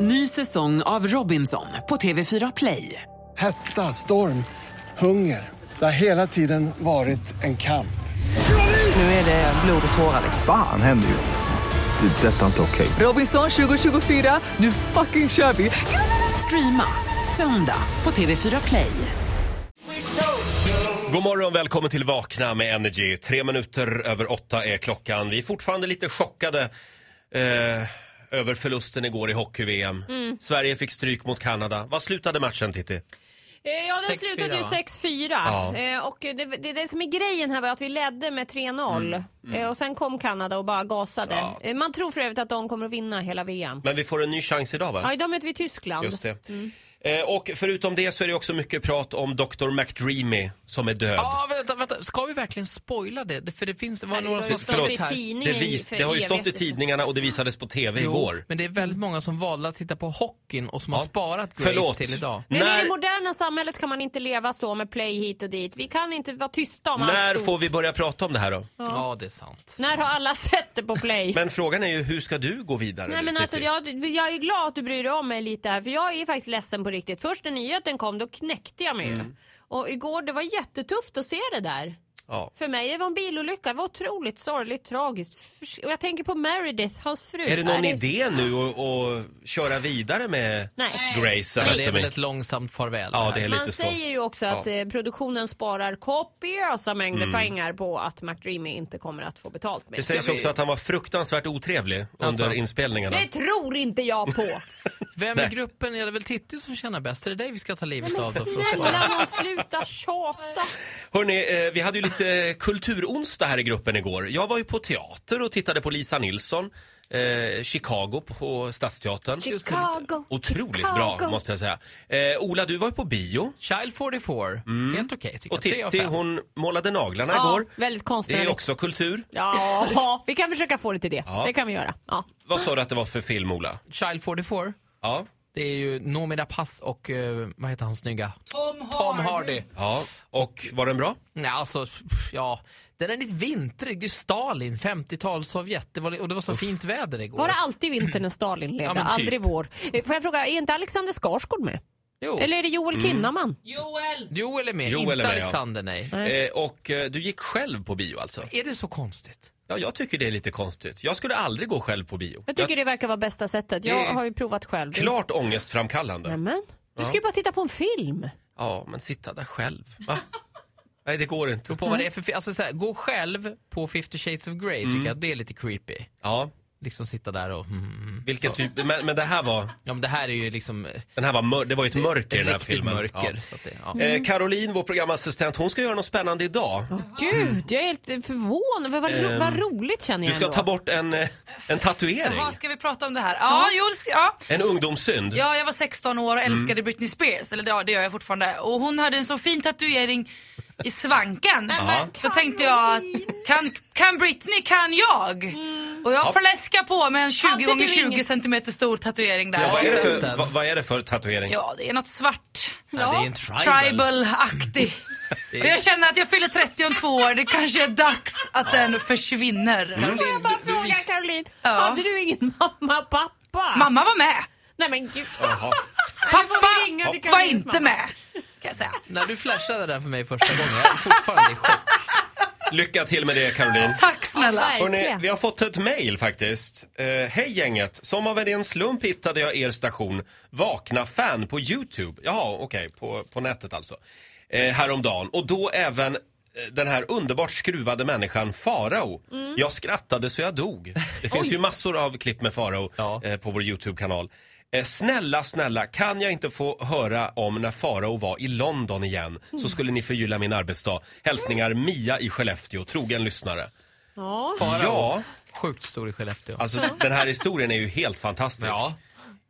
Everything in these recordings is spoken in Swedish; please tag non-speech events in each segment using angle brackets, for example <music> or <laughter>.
Ny säsong av Robinson på TV4 Play. Hetta, storm, hunger. Det har hela tiden varit en kamp. Nu är det blod och tårar. Fan händer just nu. det. är Detta är inte okej. Robinson 2024, nu fucking kör vi! Streama söndag på TV4 Play. God morgon, välkommen till Vakna med Energy. Tre minuter över åtta är klockan. Vi är fortfarande lite chockade eh, över förlusten igår i hockey-VM. Mm. Sverige fick stryk mot Kanada. Vad slutade matchen, Titti? Eh, Ja, den slutade ju 6-4. Ja. Eh, Och det, det, det som är grejen här var att vi ledde med 3-0. Mm, Eh, Och sen kom Kanada och bara gasade. Eh, Man tror för övrigt att de kommer att vinna hela VM. Men vi får en ny chans idag, va? Ja, Mm. idag möter vi Tyskland. Just det. Eh, och förutom det så är det också mycket prat om Dr. McDreamy som är död. Ja, vänta, vänta. Ska vi verkligen spoila det? Det- För det finns... Det var Nej, några det som var skrev stått i här. Det, tidningen vis, för det har ju stått i evigt. tidningarna och det visades på TV Jo, igår. Men det är väldigt många som valde att titta på hockeyn och som har sparat Grace Förlåt. till idag. Men i det När, moderna samhället kan man inte leva så med play hit och dit. Vi kan inte vara tysta om när allt får vi börja prata om det här då? Ja. det är sant. När har alla <laughs> sett det på play? Men frågan är ju, hur ska du gå vidare Nej, nu, men alltså, Titti? jag, jag är glad att du bryr dig om mig lite här för jag är faktiskt ledsen på riktigt. Först när nyheten kom då knäckte jag mig ju. Mm. Och igår det var jättetufft att se det där. Ja. För mig det var en bilolycka, det var otroligt sorgligt, tragiskt. Förs- Och jag tänker på Meredith, hans fru. Är det någon Nej, idé nu att, att köra vidare med Nej. Grace Men det är väl Anatomy? ett långsamt farväl. Ja, här. det är Man lite så. säger ju också att eh, produktionen sparar kopiösa mängder pengar på att McDreamy inte kommer att få betalt Mm. Det med. sägs också att han var fruktansvärt otrevlig under Alltså. inspelningarna. Det tror inte <laughs> jag på! Vem Nej. i gruppen är det väl Titti som tjänar bäst? Är det dig vi ska ta livet av då? för att spara? Snälla nån sluta tjata! Hörrni, eh, vi hade ju lite <laughs> kulturonsdag här i gruppen igår. Jag var ju på teater och tittade på Lisa Nilsson, eh, Chicago på Stadsteatern. Chicago! Otroligt Chicago. bra måste jag säga. Eh, Ola, du var ju på bio Child 44. Helt okej tycker Mm. och jag. Tre av Titti fem. hon målade naglarna Ja, igår. väldigt Det är konstnärligt. också kultur. Ja, vi kan försöka få det till det. Ja. Det kan vi göra. Ja. Vad sa du att det var för film, Ola? Child 44. Ja. Det är ju Noomi Rapace och eh, vad heter han snygga? Tom Hardy. Tom Hardy. ja. Och var den bra? Nej, alltså, ja. Den är lite vintrig. Det är Stalin, 50-tal Sovjet. Det var, och det var så fint väder igår. Var det alltid vinter när Stalin levde? Ja, men typ. Aldrig vår. Eh, Får jag fråga, är inte Alexander Skarsgård med? Jo, Eller är det Mm. Joel Kinnaman? Joel är med. Joel inte är med, ja. Alexander, nej. Mm. Eh, och eh, du gick själv på bio alltså? Är det så konstigt? Ja, jag tycker det är lite konstigt. Jag skulle aldrig gå själv på bio. Jag tycker det verkar vara bästa sättet. Jag har ju provat själv. Jag, klart ångestframkallande. Nämen. Du ska ju bara titta på en film. Ja, men sitta där själv. Va? Nej, det går inte. På vad det är för, fi- alltså, så här, gå själv på 50 shades of Grey Mm. tycker jag det är lite creepy. Ja, Liksom sitta där och... Mm. vilken typ. Men, men det här var, Ja, men det här är ju liksom eh, den här var mör, det var ju ett mörker i den här riktigt filmen. mörker. Ja. Så att det, ja. Eh, Caroline, vår programassistent, hon ska göra något spännande idag. Gud, jag är helt förvånad. Vad, vad, ro- vad roligt känner Du jag ska ändå. ta bort en, eh, en tatuering. Jaha, ska vi prata om det här? Ja, jo, det ska, ja. Mm. En ungdomssynd. ja, jag var 16 år och älskade Britney Spears, eller ja, det gör jag fortfarande. Och hon hade en så fin tatuering i svanken. Så tänkte jag, att, kan, kan Britney, kan jag? Och jag fläskar på med en 20 Hade du gånger 20 inget- cm stor tatuering där. Ja, vad, är det för, Sentence. vad, vad är det för tatuering? Ja, det är något svart. Nej, det är en tribal. <laughs> Tribal-aktig. Och jag känner att jag fyller 30 om två år, det kanske är dags att den försvinner. Får jag bara fråga Caroline, Ja. hade du ingen mamma och pappa? Mamma var med. Nej men gud. Jaha. ringa till Pappa var Karolins mamma. inte med. Kan jag säga. När du flashade där för mig första gången, jag är fortfarande i chock. Lycka till med det, Caroline. Tack snälla. Verkligen. Hörrni, vi har fått ett mejl faktiskt. Eh, Hej gänget! Som av en ren slump hittade jag er station Vakna fan på Youtube. Jaha, okej, på, på nätet alltså. Eh, häromdagen. Och då även eh, den här underbart skruvade människan Farao. Jag skrattade så jag dog. Det finns ju massor av klipp med Farao Ja. eh, på vår Youtube-kanal. Eh, Snälla, snälla, kan jag inte få höra om när Farao var i London igen så skulle ni förgylla min arbetsdag. Hälsningar Mia i Skellefteå, trogen lyssnare. Ja. Ja, Sjukt stor i Skellefteå. alltså den här historien är ju helt fantastisk. Ja.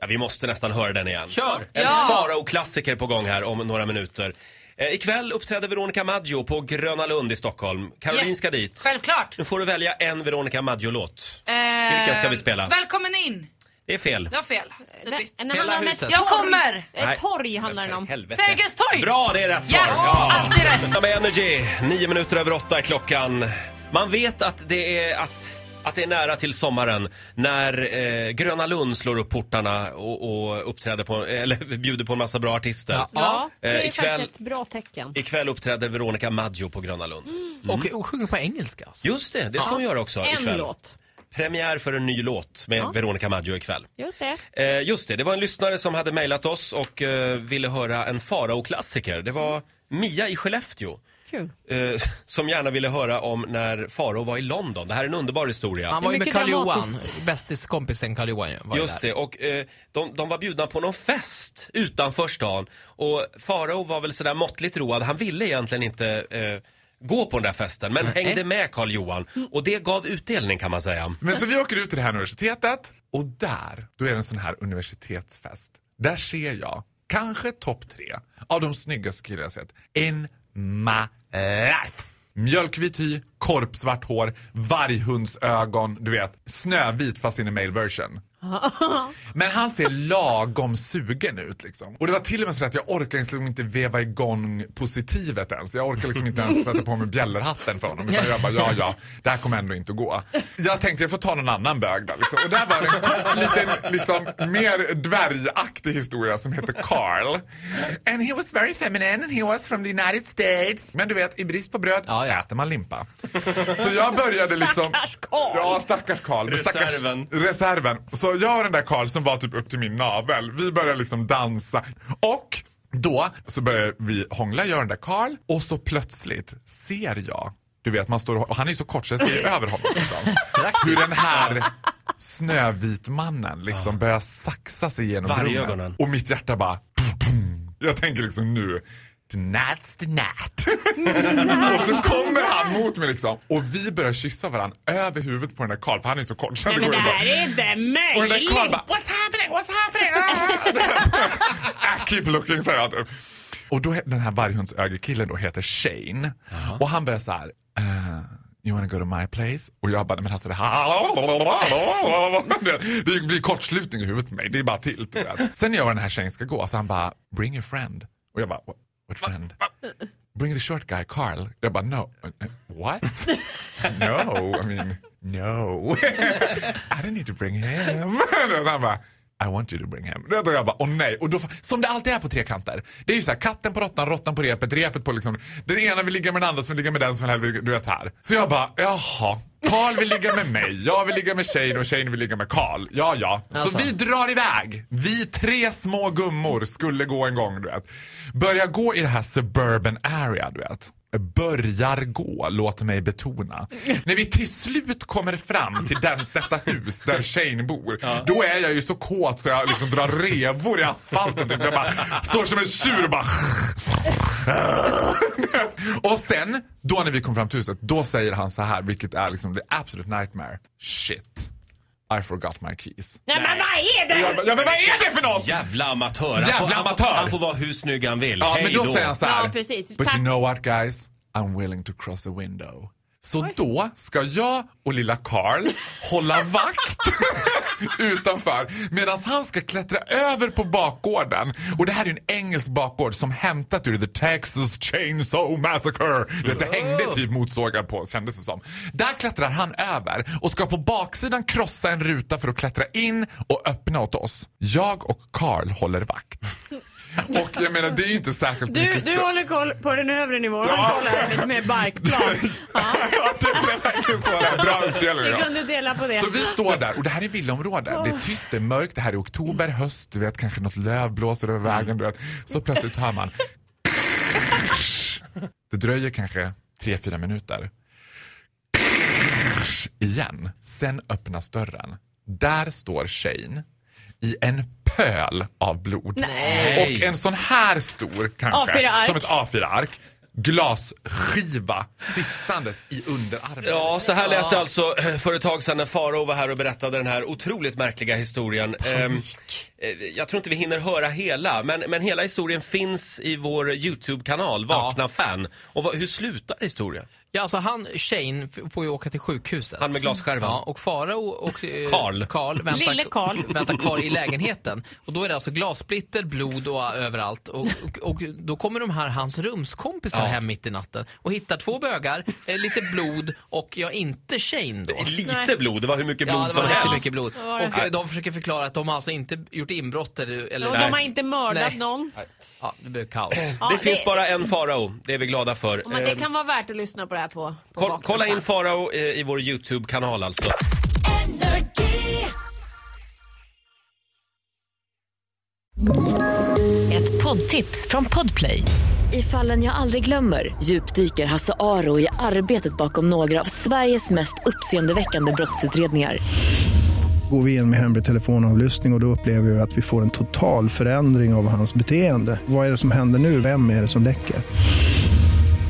Ja. vi måste nästan höra den igen. Kör! En Ja. Farao-klassiker på gång här om några minuter. Eh, ikväll uppträder Veronica Maggio på Gröna Lund i Stockholm. Caroline Ja, ska dit. Självklart. Nu får du välja en Veronica Maggio-låt. Eh, Vilka ska vi spela? Välkommen in. Det är fel. Det var fel. Typiskt. Nej, handlar om huset. ett Jag torg. kommer. Nej. Ett torg handlar Men den för om. helvete. Sergels torg. Bra, det är rätt svar! Ja, alltid rätt. Vakna med Energy, nio minuter över åtta är klockan. Man vet att det är att att det är nära till sommaren när eh, Gröna Lund slår upp portarna och, och uppträder på, eller <laughs> bjuder på en massa bra artister. Ja. Ja, det är Eh, ikväll- faktiskt ett bra tecken. Ikväll uppträder Veronica Maggio på Gröna Lund. Och, och sjunger på engelska. Alltså. Just det, det ska hon göra också En ikväll. låt. Premiär för en ny låt med Veronica Maggio ikväll. Just det. Eh, just det, det var en lyssnare som hade mejlat oss och eh, ville höra en Farao-klassiker. Det var Mia i Skellefteå. Kul. Eh, <laughs> som gärna ville höra om när Farao var i London. Det här är en underbar historia. Han var ju med mycket Karl-Johan, dramatiskt. bästiskompisen Karl-Johan ju, var ju Just där. det, och eh, de, de var bjudna på någon fest utanför stan. Och Farao var väl sådär måttligt road. Han ville egentligen inte eh, gå på den där festen, men hängde med Karl Johan. Och det gav utdelning kan man säga. Men så vi åker ut till det här universitetet och där, då är det en sån här universitetsfest. Där ser jag, kanske topp tre av de snyggaste killar jag sett. En malaff! Mjölkvit hy, korpsvart hår, varghundsögon, du vet, snövit fast in i male version. Men han ser lagom sugen ut liksom. Och det var till och med så att jag orkar liksom inte veva igång positivet ens. Jag orkar liksom inte ens sätta på mig bjällerhatten för honom. Utan jag bara, ja ja, det här kommer ändå inte att gå. Jag tänkte jag får ta någon annan bög där liksom. Och där var det en kort liten, liksom mer dvärgaktig historia som heter Carl. And he was very feminine and he was from the United States. Men du vet, i brist på bröd Ja, ja. äter man limpa. Så jag började liksom... Stackars Carl. Ja, stackars Carl. Men stackars- Reserven. reserven. Så jag och den där Karl som var typ upp till min navel, vi började liksom dansa. Och då så började vi hångla, jag och den där Karl. Och så plötsligt ser jag, du vet man står och och han är ju så kort så jag ser över honom. Liksom, hur den här snövitmannen liksom börjar saxa sig genom Vargögonen. Och mitt hjärta bara... Jag tänker liksom nu... Tonight, tonight. och så kommer han mot mig liksom och vi börjar kyssa varandra över huvudet på den där Karl för han är så kort. Så Nej, men det här är inte och den där möjligt! Karl bara “What's happening? What's happening?” <laughs> ah! I keep looking, säger jag typ. Och då, he- den här varghundsögerkillen då heter Shane. Och han börjar så här... "Eh, You wanna go to my place? Och jag bara, men alltså det här... Det blir kortslutning i huvudet på mig. Det är bara tilt. du vet. Sen när jag och den här Shane ska gå, så han bara, bring your friend. Och jag bara, what, what friend? Bring the short guy, Carl. Jag bara, no. What? <laughs> No, I mean, no. <laughs> I don't need to bring him. <laughs> Och han bara, I want you to bring him. Och jag bara, åh nej. Och då, som det alltid är på trekanter. Det är ju så här, katten på råttan, råttan på repet, repet på liksom. Den ena vill ligga med den andra som vill ligga med den som vill helst vill- du vet här. Så jag bara, jaha. Karl vill ligga med mig, jag vill ligga med Shane och Shane vill ligga med Karl. Ja, ja. Så Alltså. vi drar iväg. Vi tre små gummor skulle gå en gång, du vet. Börja gå i det här suburban area, du vet. Börjar gå, låt mig betona. När vi till slut kommer fram till den, detta hus där Shane bor, då är jag ju så kåt så jag liksom drar revor i asfalten. Typ. Jag bara står som en tjur och bara... <laughs> och sen, då när vi kom fram till huset, då säger han så här, vilket är liksom the absolute nightmare. Shit, I forgot my keys. Nej, men vad är det? Jag bara, Ja, men vad är det för något? Jävla amatör! Han Jävla får, han, amatör. Får, han får vara hur snygg han vill. Ja, Hej men då, säger han så här. Ja, precis. But Tack. you know what guys? I'm willing to cross a window. Så då ska jag och lilla Carl <laughs> hålla vakt utanför medan han ska klättra över på bakgården. Och det här är ju en engelsk bakgård som hämtat ur The Texas Chainsaw Massacre. Det, det hängde typ motsågar på kändes det som. Där klättrar han över och ska på baksidan krossa en ruta för att klättra in och öppna åt oss. Jag och Carl håller vakt. <laughs> Och jag menar det är ju inte särskilt Du, mycket du stö- håller koll på den övre nivån. Han kollar lite mer barkplan. ja, det blev verkligen så. där. Bra uppdelning. Vi ja. kunde dela på det. Så vi står där och det här är villaområde. Det är tyst, det är mörkt, det här är oktober, höst, du vet kanske något löv blåser över vägen. Du vet. Så plötsligt hör man. Det dröjer kanske tre fyra minuter. Igen. Sen öppnas dörren. Där står Shane i en pöl av blod. Och en sån här stor kanske, A4-ark. som ett A4-ark, glasskiva sittandes i underarmen. Ja, så här lät det alltså eh, för ett tag sedan när Farao var här och berättade den här otroligt märkliga historien. Ehm, eh, jag tror inte vi hinner höra hela, men, men hela historien finns i vår YouTube-kanal, Vakna fan. Och vad, hur slutar historien? Ja, alltså han, Shane, f- får ju åka till sjukhuset. Han med glasskärvan. Ja, och Farao och eh, Carl. Carl väntar, Lille Carl. väntar kvar i lägenheten. Och då är det alltså glassplitter, blod och eh, överallt. Och, och, och då kommer de här hans rumskompisar Ja. hem mitt i natten och hittar två bögar, eh, lite blod och ja, inte Shane då. Lite Nej. blod, det var hur mycket blod Ja, det som var riktigt helst. mycket blod. var det. Och eh, de försöker förklara att de har alltså inte gjort inbrott eller... eller Och de har inte mördat Nej. någon. Ja, det blev kaos. Ja, Det finns bara en farao, det är vi glada för. Oh Men det Eh, kan vara värt att lyssna på det här på. på koll, Vakna kolla Fan. in farao eh, i vår YouTube-kanal alltså. Ett poddtips från Podplay. I fallen jag aldrig glömmer djupdyker Hasse Aro i arbetet bakom några av Sveriges mest uppseendeväckande brottsutredningar. Går vi in med hemlig telefonavlyssning och, och då upplever vi att vi får en total förändring av hans beteende. Vad är det som händer nu? Vem är det som läcker?